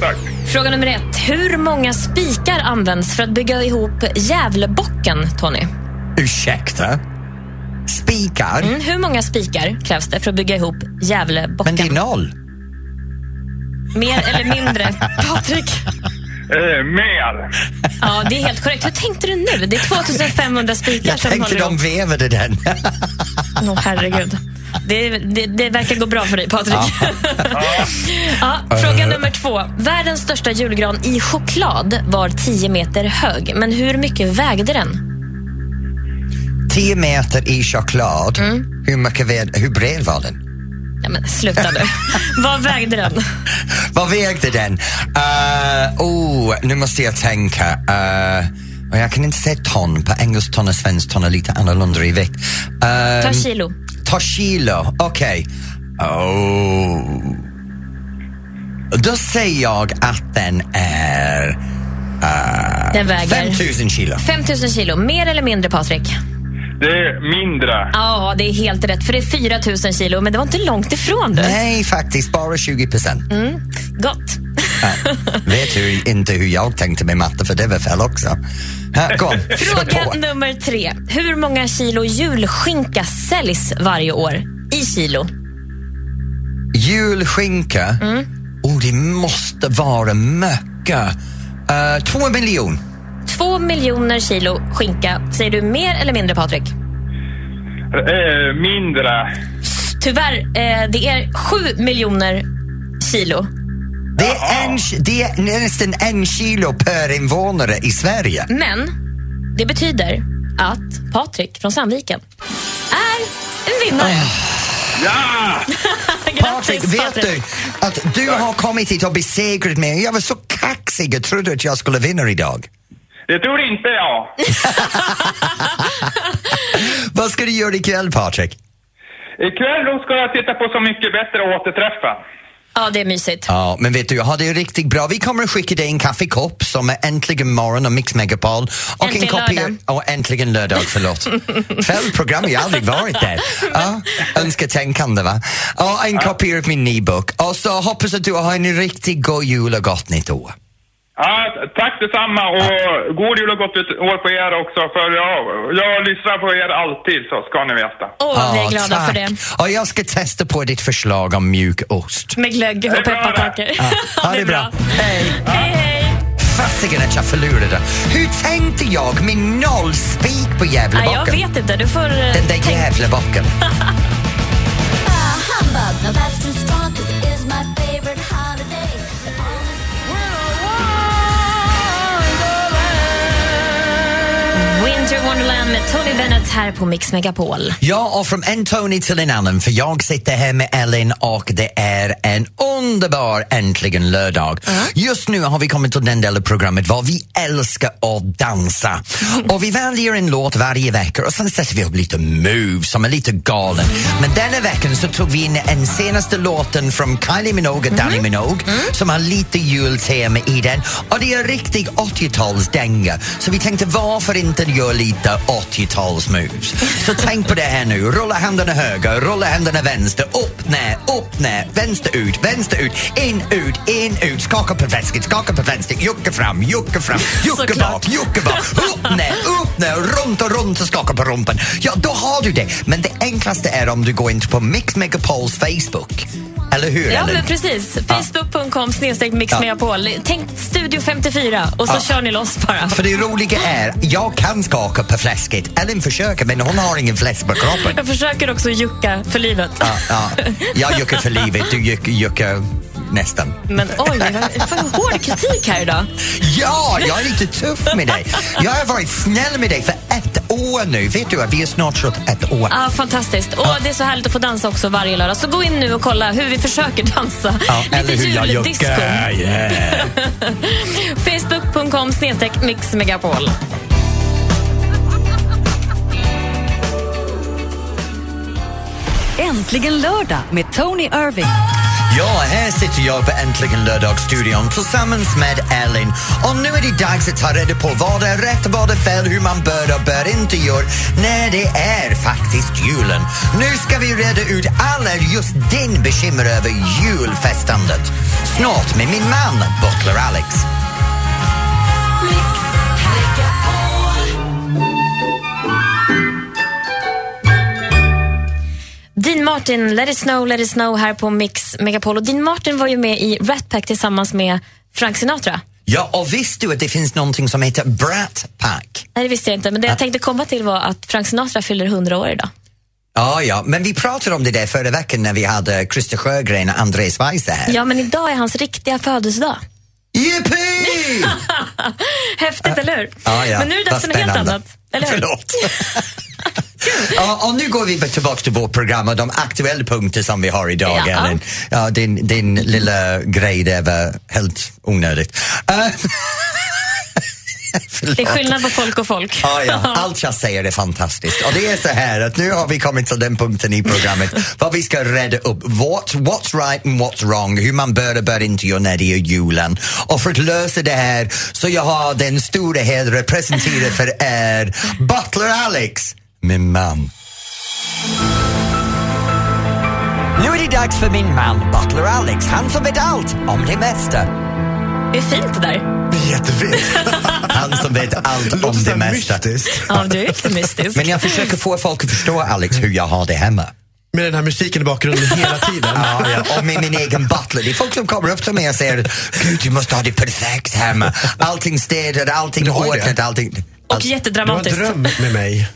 [SPEAKER 7] tack.
[SPEAKER 2] Fråga nummer ett. Hur många spikar används för att bygga ihop Gävlebocken, Tony?
[SPEAKER 1] Ursäkta? Spikar?
[SPEAKER 2] Mm, hur många spikar krävs det för att bygga ihop Gävlebocken?
[SPEAKER 1] Men det är noll.
[SPEAKER 2] Mer eller mindre, Patrik?
[SPEAKER 7] Eh, mer.
[SPEAKER 2] Ja, det är helt korrekt. Hur tänkte du nu? Det är 2500 spikar
[SPEAKER 1] Jag
[SPEAKER 2] som
[SPEAKER 1] tänkte
[SPEAKER 2] håller
[SPEAKER 1] de
[SPEAKER 2] ihop.
[SPEAKER 1] vevade den.
[SPEAKER 2] Åh, herregud. Det, det, det verkar gå bra för dig, Patrik.
[SPEAKER 1] Ja. Eh.
[SPEAKER 2] Ja, fråga nummer två. Världens största julgran i choklad var 10 meter hög. Men hur mycket vägde den?
[SPEAKER 1] 10 meter i choklad.
[SPEAKER 2] Mm.
[SPEAKER 1] Hur, mycket ved, hur bred var den?
[SPEAKER 2] Ja, men sluta nu. Vad vägde den?
[SPEAKER 1] Vad vägde den? Uh, oh, nu måste jag tänka. Eh, och jag kan inte säga ton, på engelskt ton och svenskt ton är lite annorlunda i vikt. Eh,
[SPEAKER 2] Ta kilo.
[SPEAKER 1] Ta kilo, okej. Oh. Då säger jag att den är
[SPEAKER 2] Den väger
[SPEAKER 1] 5000 kilo.
[SPEAKER 2] 5000 kilo. Mer eller mindre, Patrik?
[SPEAKER 7] Det är mindre.
[SPEAKER 2] Ja, det är helt rätt. För det är 4000 kilo. Men det var inte långt ifrån du.
[SPEAKER 1] Nej, faktiskt bara 20 procent.
[SPEAKER 2] Gott.
[SPEAKER 1] Vet du inte hur jag tänkte med matte, för det var fel också. Här, kom, kör på.
[SPEAKER 2] Fråga nummer tre. Hur många kilo julskinka säljs varje år? I kilo.
[SPEAKER 1] Julskinka? Oh, det måste vara mycket. Uh, två miljoner.
[SPEAKER 2] Två miljoner kilo skinka. Säger du mer eller mindre, Patrik?
[SPEAKER 7] Eh, mindre.
[SPEAKER 2] Tyvärr, eh, det är sju miljoner kilo.
[SPEAKER 1] Det är, en, det är nästan en kilo per invånare i Sverige.
[SPEAKER 2] Men det betyder att Patrik från Sandviken är en vinnare.
[SPEAKER 7] Ja!
[SPEAKER 1] Ah, Patrik,
[SPEAKER 2] Grattis,
[SPEAKER 1] vet du att du har kommit hit och besegrat mig? Jag var så kaxig och trodde att jag skulle vinna idag.
[SPEAKER 7] Det tror inte jag.
[SPEAKER 1] Vad ska du göra ikväll, Patrik?
[SPEAKER 7] Ikväll då ska jag titta på Så mycket bättre återträffen.
[SPEAKER 2] Ja, det är mysigt.
[SPEAKER 1] Ja, men vet du, jag har det riktigt bra. Vi kommer att skicka dig en kaffekopp som är äntligen morgon och Mix Megapol. Och
[SPEAKER 2] Äntligen
[SPEAKER 1] en kopia...
[SPEAKER 2] lördag.
[SPEAKER 1] Och äntligen lördag, förlåt. Fel program, jag har aldrig varit där. Ja, önsketänkande, va? Och en kopia av min nybok. Och så hoppas att du har en riktigt god jul och gott nytt år.
[SPEAKER 7] Ja, tack detsamma och god jul och gott år på er också för jag, jag lyssnar på er alltid så ska ni veta.
[SPEAKER 2] Åh, vi är
[SPEAKER 1] Ja,
[SPEAKER 2] glada
[SPEAKER 1] tack.
[SPEAKER 2] för det.
[SPEAKER 1] Och jag ska testa på ditt förslag om mjuk ost.
[SPEAKER 2] Med glögg
[SPEAKER 7] är
[SPEAKER 2] och
[SPEAKER 7] bra det.
[SPEAKER 2] pepparkakor.
[SPEAKER 1] Ja, det är bra. Hej.
[SPEAKER 2] Hej, hej.
[SPEAKER 1] Fasiken att jag förlorade. Hur tänkte jag med noll spik på jävla
[SPEAKER 2] Nej, jag
[SPEAKER 1] bocken?
[SPEAKER 2] vet inte. Du får... eh,
[SPEAKER 1] Den där
[SPEAKER 2] tänk-
[SPEAKER 1] jävla bocken.
[SPEAKER 2] Winter Wonderland med Tony Bennett här på Mix Megapol.
[SPEAKER 1] Ja, och från en Tony till en annan, för jag sitter här med Ellen och det är en underbar äntligen lördag. Just nu har vi kommit till den delen av programmet var vi älskar att dansa. Och vi väljer en låt varje vecka och sen sätter vi upp lite moves som är lite galen. Men denna veckan så tog vi in en senaste låten från Kylie Minogue och
[SPEAKER 2] Mhm.
[SPEAKER 1] Danny Minogue
[SPEAKER 2] Mm.
[SPEAKER 1] som har lite jultema i den och det är riktigt 80-talsdänga. Så vi tänkte varför inte göra lite 80-talsmoves? Så tänk på det här nu. Rulla händerna höger, rulla händerna vänster. Upp, ner, upp, ner. Vänster ut, vänster ut. In, ut, in, ut. Skaka på vänsket, skaka på vänster. Jucka fram, jucka fram. Jucka
[SPEAKER 2] Såklart.
[SPEAKER 1] bak, jucka bak. Upp, ner, upp, ner. Runt och runt och skaka på rumpen. Ja, då har du det. Men det enklaste är om du går in på Mix Megapols Facebook. Eller hur,
[SPEAKER 2] Ja,
[SPEAKER 1] Ellen?
[SPEAKER 2] men precis. Facebook.com snedstreck Mix Megapol. Tänk Studio 54 och så kör ni loss bara.
[SPEAKER 1] För det roliga är, jag kan skaka på fläsket. Ellen försöker, men hon har ingen fläsk på kroppen.
[SPEAKER 2] Jag försöker också jucka för livet.
[SPEAKER 1] Ja, ja. Jag juckar för livet, du juck- juckar nästan.
[SPEAKER 2] Men oj, vad- fan vad hård kritik här idag.
[SPEAKER 1] Ja, jag är lite tuff med dig. Jag har varit snäll med dig för ett år nu. Vet du att vi är snart kört ett år.
[SPEAKER 2] Ja, fantastiskt. Och det är så härligt att få dansa också varje lördag. Så gå in nu och kolla hur vi försöker dansa.
[SPEAKER 1] Ja, eller hur jag
[SPEAKER 2] juldisco.
[SPEAKER 1] juckar. Yeah.
[SPEAKER 2] Facebook.com snedstreck Mix Megapol.
[SPEAKER 6] Äntligen lördag med Tony Irving.
[SPEAKER 1] Ja, här sitter jag på Äntligen lördagsstudion tillsammans med Elin. Och nu är det dags att ta reda på vad är rätt, vad är fel, hur man bör och bör inte göra när det är faktiskt julen. Nu ska vi reda ut alla just din bekymmer över julfestandet. Snart med min man, Butler Alex.
[SPEAKER 2] Dean Martin, Let it snow, let it snow här på Mix Megapol. Och Dean Martin var ju med i Rat Pack tillsammans med Frank Sinatra.
[SPEAKER 1] Ja, och visste du att det finns någonting som heter Brat Pack?
[SPEAKER 2] Nej, det visste jag inte. Men det jag tänkte komma till var att Frank Sinatra fyller 100 år idag.
[SPEAKER 1] Ja, ja, men vi pratade om det där förra veckan när vi hade Christer Sjögren och Andres Weise här.
[SPEAKER 2] Ja, men idag är hans riktiga födelsedag.
[SPEAKER 1] Yippee!
[SPEAKER 2] Häftigt, eller hur?
[SPEAKER 1] ja, ja.
[SPEAKER 2] Men nu är det dags
[SPEAKER 1] Vad
[SPEAKER 2] för något helt
[SPEAKER 1] spännande.
[SPEAKER 2] annat. Eller hur?
[SPEAKER 1] Förlåt. Ja, och nu går vi tillbaka till vårt program och de aktuella punkter som vi har idag,
[SPEAKER 2] Ja.
[SPEAKER 1] Ellen. Ja, din, din lilla grej där var helt onödigt. Eh, förlåt.
[SPEAKER 2] Det är skillnad på folk och folk.
[SPEAKER 1] Ja, ja. Allt jag säger är fantastiskt. Och det är så här att nu har vi kommit till den punkten i programmet vad vi ska rädda upp. What, what's right and what's wrong? Hur man bör och bör inte göra när det är julen. Och för att lösa det här så jag har den stora hedern att presentera för er Butler Alex, min man. Nu är det dags för min man Butler Alex, han som vet allt om det mesta.
[SPEAKER 2] Det är fint det där.
[SPEAKER 8] Jättefint.
[SPEAKER 1] Han som vet allt
[SPEAKER 8] Låter
[SPEAKER 1] om
[SPEAKER 8] så
[SPEAKER 1] det
[SPEAKER 8] här
[SPEAKER 1] mesta.
[SPEAKER 8] mystiskt.
[SPEAKER 2] Ja, du är lite mystisk.
[SPEAKER 1] Men jag försöker få folk att förstå, Alex, hur jag har det hemma.
[SPEAKER 8] Med den här musiken i bakgrunden hela tiden.
[SPEAKER 1] Ja, ja. Och med min egen butler. Det är folk som kommer upp till mig och säger Gud, du måste ha det perfekt hemma. Allting städat, allting
[SPEAKER 8] Du har ju
[SPEAKER 1] ordnat,
[SPEAKER 8] det.
[SPEAKER 1] allting...
[SPEAKER 2] Och
[SPEAKER 1] allt-
[SPEAKER 8] Det var en
[SPEAKER 2] jättedramatiskt.
[SPEAKER 8] dröm med mig.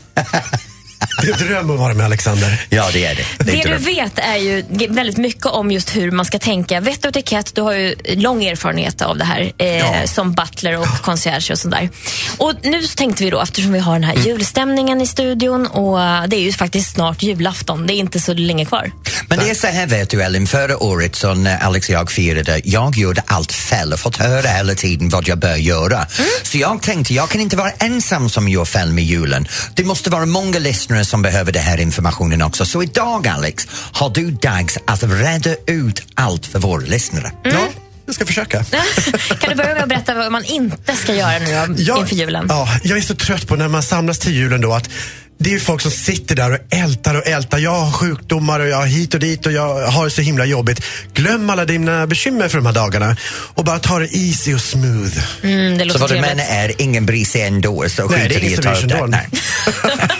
[SPEAKER 8] Det är en dröm att vara med
[SPEAKER 2] Mm.
[SPEAKER 8] Alexander.
[SPEAKER 1] Ja, det är det. det, är
[SPEAKER 2] Det
[SPEAKER 1] inte
[SPEAKER 2] du
[SPEAKER 1] det.
[SPEAKER 2] vet är ju g- väldigt mycket om just hur man ska tänka. Vett och etikett, du har ju lång erfarenhet av det här eh, som butler och concierge och sådär. Och nu så tänkte vi då, eftersom vi har den här julstämningen i studion och eh, det är ju faktiskt snart julafton, det är inte så länge kvar.
[SPEAKER 1] Men det är så här, vet du Ellen, förra året så när Alex och jag firade, jag gjorde allt fel och fått höra hela tiden vad jag bör göra.
[SPEAKER 8] Mm.
[SPEAKER 1] Så jag tänkte, jag kan inte vara ensam som gör fel med julen. Det måste vara många lyssnare som behöver den här informationen också. Så idag, Alex, har du dags att reda ut allt för våra lyssnare.
[SPEAKER 8] Ja, jag ska försöka.
[SPEAKER 2] kan du börja med att berätta vad man inte ska göra nu då,
[SPEAKER 8] Jag-
[SPEAKER 2] inför julen?
[SPEAKER 8] Ja, jag är så trött på när man samlas till julen då att det är ju folk som sitter där och ältar och ältar. Jag har sjukdomar och jag har hit och dit och jag har det så himla jobbigt. Glöm alla dina bekymmer för de här dagarna och bara ta det easy och smooth.
[SPEAKER 2] Mm, det låter
[SPEAKER 1] Så vad du
[SPEAKER 2] trevligt.
[SPEAKER 1] menar är ingen bryr sig ändå, så
[SPEAKER 8] Nej, det
[SPEAKER 1] skiter
[SPEAKER 8] är
[SPEAKER 1] vi i
[SPEAKER 8] ingen
[SPEAKER 1] att
[SPEAKER 8] som bryr
[SPEAKER 1] ta upp
[SPEAKER 8] sig
[SPEAKER 1] det.
[SPEAKER 8] ändå.
[SPEAKER 1] Nej.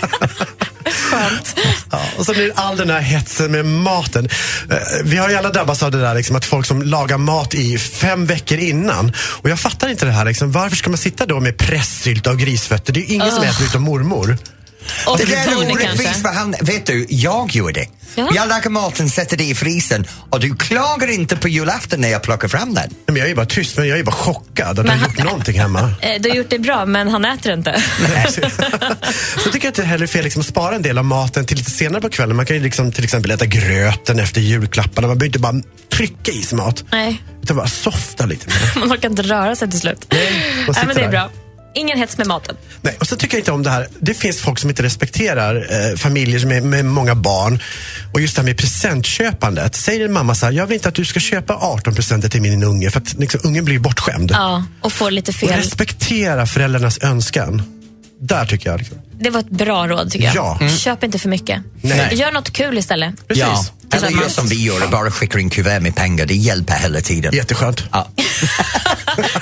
[SPEAKER 2] Skönt.
[SPEAKER 8] Ja, och så blir det all den här hetsen med maten. Eh, Vi har ju alla drabbats av det där liksom, att folk som lagar mat i fem veckor innan. Och jag fattar inte det här. Liksom, varför ska man sitta då med pressylta och grisfötter? Det är ju ingen
[SPEAKER 2] Ah.
[SPEAKER 8] som äter utom mormor.
[SPEAKER 2] Och
[SPEAKER 1] Det där är
[SPEAKER 2] Tony kanske.
[SPEAKER 1] orättvist för han, vet du, jag gör det.
[SPEAKER 2] Ja.
[SPEAKER 1] Jag lagar maten, sätter det i frysen och du klagar inte på julafton när jag plockar fram den.
[SPEAKER 8] Nej, Men jag är ju bara tyst, men jag är ju bara chockad att jag
[SPEAKER 2] Men
[SPEAKER 8] har
[SPEAKER 2] han-
[SPEAKER 8] gjort någonting hemma.
[SPEAKER 2] Eh, Du har gjort det bra, men han äter inte.
[SPEAKER 8] Så tycker jag att det är heller fel liksom, att spara en del av maten till lite senare på kvällen. Man kan ju liksom, till exempel äta gröten efter julklapparna. Man behöver inte bara trycka i sig mat.
[SPEAKER 2] Nej,
[SPEAKER 8] Utan bara softa lite. med det.
[SPEAKER 2] man orkar inte röra sig till slut.
[SPEAKER 8] och
[SPEAKER 2] Nej, men det
[SPEAKER 8] sitta
[SPEAKER 2] är
[SPEAKER 8] där.
[SPEAKER 2] bra. Ingen hets med maten.
[SPEAKER 8] Nej, och så tycker jag inte om det här. Det finns folk som inte respekterar eh, familjer med, med många barn. Och just det här med presentköpandet. Säger en mamma så här, jag vill inte att du ska köpa 18 presenter till min unge för att liksom, ungen blir bortskämd.
[SPEAKER 2] Ja, och får lite
[SPEAKER 8] Och
[SPEAKER 2] fel.
[SPEAKER 8] respektera föräldrarnas önskan. Där tycker jag. Liksom.
[SPEAKER 2] Det var ett bra råd tycker jag.
[SPEAKER 8] Ja. Mm.
[SPEAKER 2] Köp inte för mycket.
[SPEAKER 8] Nej.
[SPEAKER 2] Gör något kul istället.
[SPEAKER 8] Precis.
[SPEAKER 1] Eller gör
[SPEAKER 2] Tillsammans.
[SPEAKER 1] som vi gör och bara skickar in kuvert med pengar. Det hjälper hela tiden.
[SPEAKER 8] Jätteskönt.
[SPEAKER 1] Ja.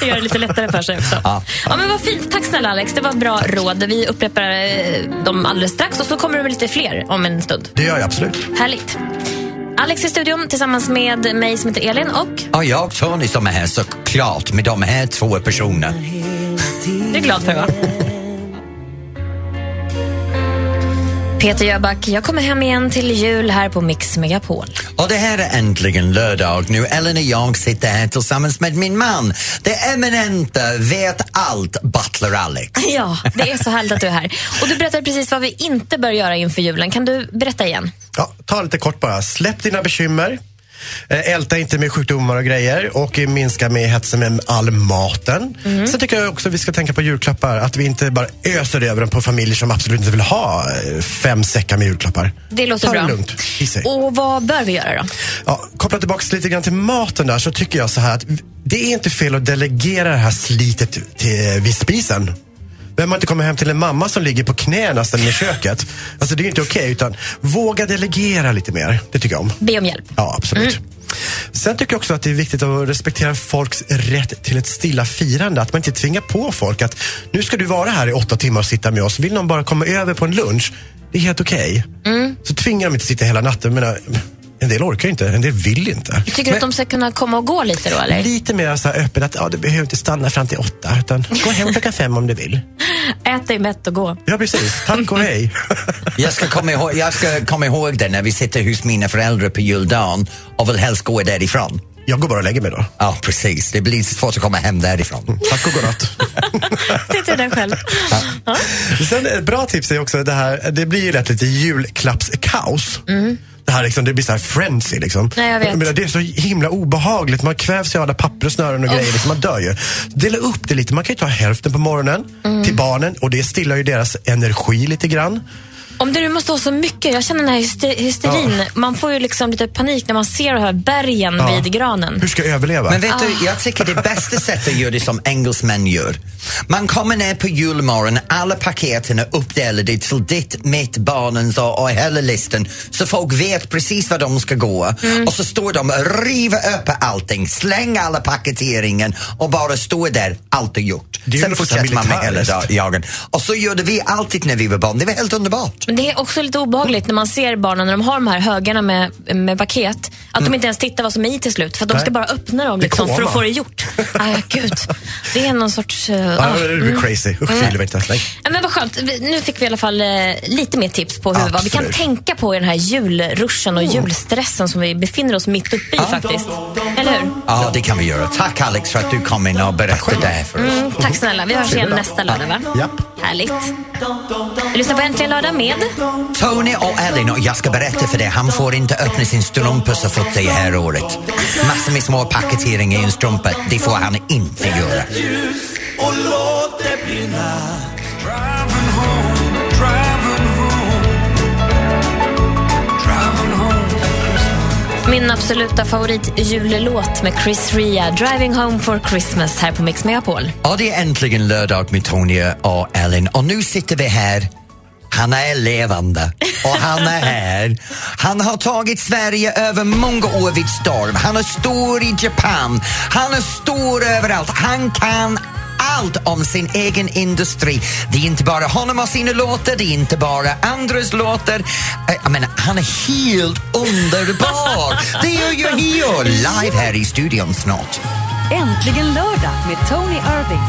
[SPEAKER 2] Gör det lite lättare för sig också. Ja. men vad fint. Tack snälla Alex. Det var ett bra råd. Vi upprepar eh, dem alldeles strax och så kommer det väl lite fler om en stund.
[SPEAKER 8] Det gör jag absolut.
[SPEAKER 2] Härligt. Alex i studion tillsammans med mig som heter Elin och
[SPEAKER 1] Och jag, Tony, som är här såklart med de här två personerna.
[SPEAKER 2] Det är glad för va? Peter Jöback, jag kommer hem igen till jul här på Mix Megapol.
[SPEAKER 1] Och det här är äntligen lördag nu. Ellen och jag sitter här tillsammans med min man, det eminenta vet allt, Butler Alex.
[SPEAKER 2] Ja, det är så härligt att du är här. Och du berättade precis vad vi inte bör göra inför julen. Kan du berätta igen?
[SPEAKER 8] Ja, ta lite kort bara. Släpp dina bekymmer. Eh, Älta inte med sjukdomar och grejer och eh, minska med hetsen med all maten.
[SPEAKER 2] Mm.
[SPEAKER 8] Sen tycker jag också att vi ska tänka på julklappar. Att vi inte bara öser över dem på familjer som absolut inte vill ha eh, fem säckar med julklappar.
[SPEAKER 2] Det låter
[SPEAKER 8] Ta
[SPEAKER 2] bra.
[SPEAKER 8] det lugnt. I sig.
[SPEAKER 2] Och vad bör vi göra då?
[SPEAKER 8] Ja, koppla tillbaka lite grann till maten där så tycker jag så här att det är inte fel att delegera det här slitet till, eh, vid spisen. Vem har inte kommit hem till en mamma som ligger på knä nästan i köket? Alltså det är ju inte okej utan våga delegera lite mer. Det tycker jag om.
[SPEAKER 2] Be om hjälp.
[SPEAKER 8] Ja, absolut. Sen tycker jag också att det är viktigt att respektera folks rätt till ett stilla firande. Att man inte tvingar på folk att nu ska du vara här i åtta timmar och sitta med oss. Vill någon bara komma över på en lunch, det är helt okej. Så tvingar de inte sitta hela natten. Jag Menar, En del orkar ju inte, en del vill inte.
[SPEAKER 2] Tycker du att de ska kunna komma och gå lite då eller?
[SPEAKER 8] Lite mer så här öppen att ja, du behöver inte stanna fram till åtta, utan gå hem klockan fem om du vill.
[SPEAKER 2] Ät dig mätt och gå.
[SPEAKER 8] Ja, precis. Tack och hej.
[SPEAKER 1] Jag ska, komma ihåg, jag ska komma ihåg det när vi sitter hos mina föräldrar på juldagen och vill helst gå därifrån.
[SPEAKER 8] Jag går bara och lägger mig då.
[SPEAKER 1] Ja, precis. Det blir svårt att komma hem därifrån.
[SPEAKER 8] Tack och godnatt.
[SPEAKER 2] Sitter där själv. Ja.
[SPEAKER 8] Sen ett bra tips är också det här, det blir ju lätt lite julklappskaos. Det här liksom, det blir så här frenzy liksom.
[SPEAKER 2] Mm. Nej, jag vet.
[SPEAKER 8] menar, det är så himla obehagligt. Man kvävs ju av alla papper och snören och grejer. Liksom, man dör ju. Dela upp det lite. Man kan ju ta hälften på morgonen
[SPEAKER 2] Mm.
[SPEAKER 8] till barnen och det stillar ju deras energi lite grann.
[SPEAKER 2] Om det nu måste vara så mycket, jag känner den här hyste- hysterin. Man får ju liksom lite panik när man ser de här bergen
[SPEAKER 8] Ja.
[SPEAKER 2] vid granen.
[SPEAKER 8] Hur ska jag överleva?
[SPEAKER 1] Men vet du, jag tycker det bästa sättet att göra det som engelsmän gör. Man kommer ner på julmorgon, alla paketen är uppdelade till ditt, mitt, barnens och, och hela listan. Så folk vet precis var de ska gå. Och så står de och river upp allting, släng alla paketeringen och bara står där, allt är gjort.
[SPEAKER 8] Det är ju
[SPEAKER 1] Sen
[SPEAKER 8] nästan
[SPEAKER 1] fortsätter man med hela
[SPEAKER 8] militäriskt.
[SPEAKER 1] dag- dagen. Och så gjorde vi alltid när vi var barn, det var helt underbart.
[SPEAKER 2] Men det är också lite obehagligt när man ser barnen när de har de här högarna med, med paket. Att de inte ens tittar vad som är i till slut. För att de
[SPEAKER 8] Mm. Nej.
[SPEAKER 2] ska bara öppna dem
[SPEAKER 8] Det är
[SPEAKER 2] liksom, för
[SPEAKER 8] koma.
[SPEAKER 2] att få det gjort. Aj, gud. Det är någon sorts... eh,
[SPEAKER 8] Ja,
[SPEAKER 2] ah,
[SPEAKER 8] det blir
[SPEAKER 2] mm.
[SPEAKER 8] crazy. Usch, det gillar vi inte. Nej.
[SPEAKER 2] Ja, men vad skönt. Vi- Nu fick vi i alla fall eh, lite mer tips på hur, vad vi kan
[SPEAKER 8] Absolut.
[SPEAKER 2] tänka på i den här julruschen och julstressen som vi befinner oss mitt uppe i faktiskt. Eller hur?
[SPEAKER 1] Ja, det kan vi göra. Tack Alex för att du kom in och berättade det här för oss.
[SPEAKER 2] Mm, tack snälla. Vi hörs igen
[SPEAKER 8] Trevligt.
[SPEAKER 2] nästa lördag, va?
[SPEAKER 8] Japp.
[SPEAKER 2] Härligt. Du lyssnar på Äntligen lördag med...
[SPEAKER 1] Tony och Ellen, och jag ska berätta för dig, han får inte öppna sin strumpa så fort det är här året. Massor med små paketering i en strumpa, det får han inte göra.
[SPEAKER 2] Min absoluta favoritjullåt med Chris Ria, Driving Home for Christmas här på Mix Megapol.
[SPEAKER 1] Och det är äntligen lördag med Tony och Ellen och nu sitter vi här. Han är levande och han är här. Han har tagit Sverige över många år vid storm. Han är stor i Japan. Han är stor överallt. Han kan allt om sin egen industri. Det är inte bara honom och sina låtar, det är inte bara andras låtar. Eh, Jag menar, han är helt underbar! Det är ju Hio live här i studion snart.
[SPEAKER 6] Äntligen lördag med Tony Irving.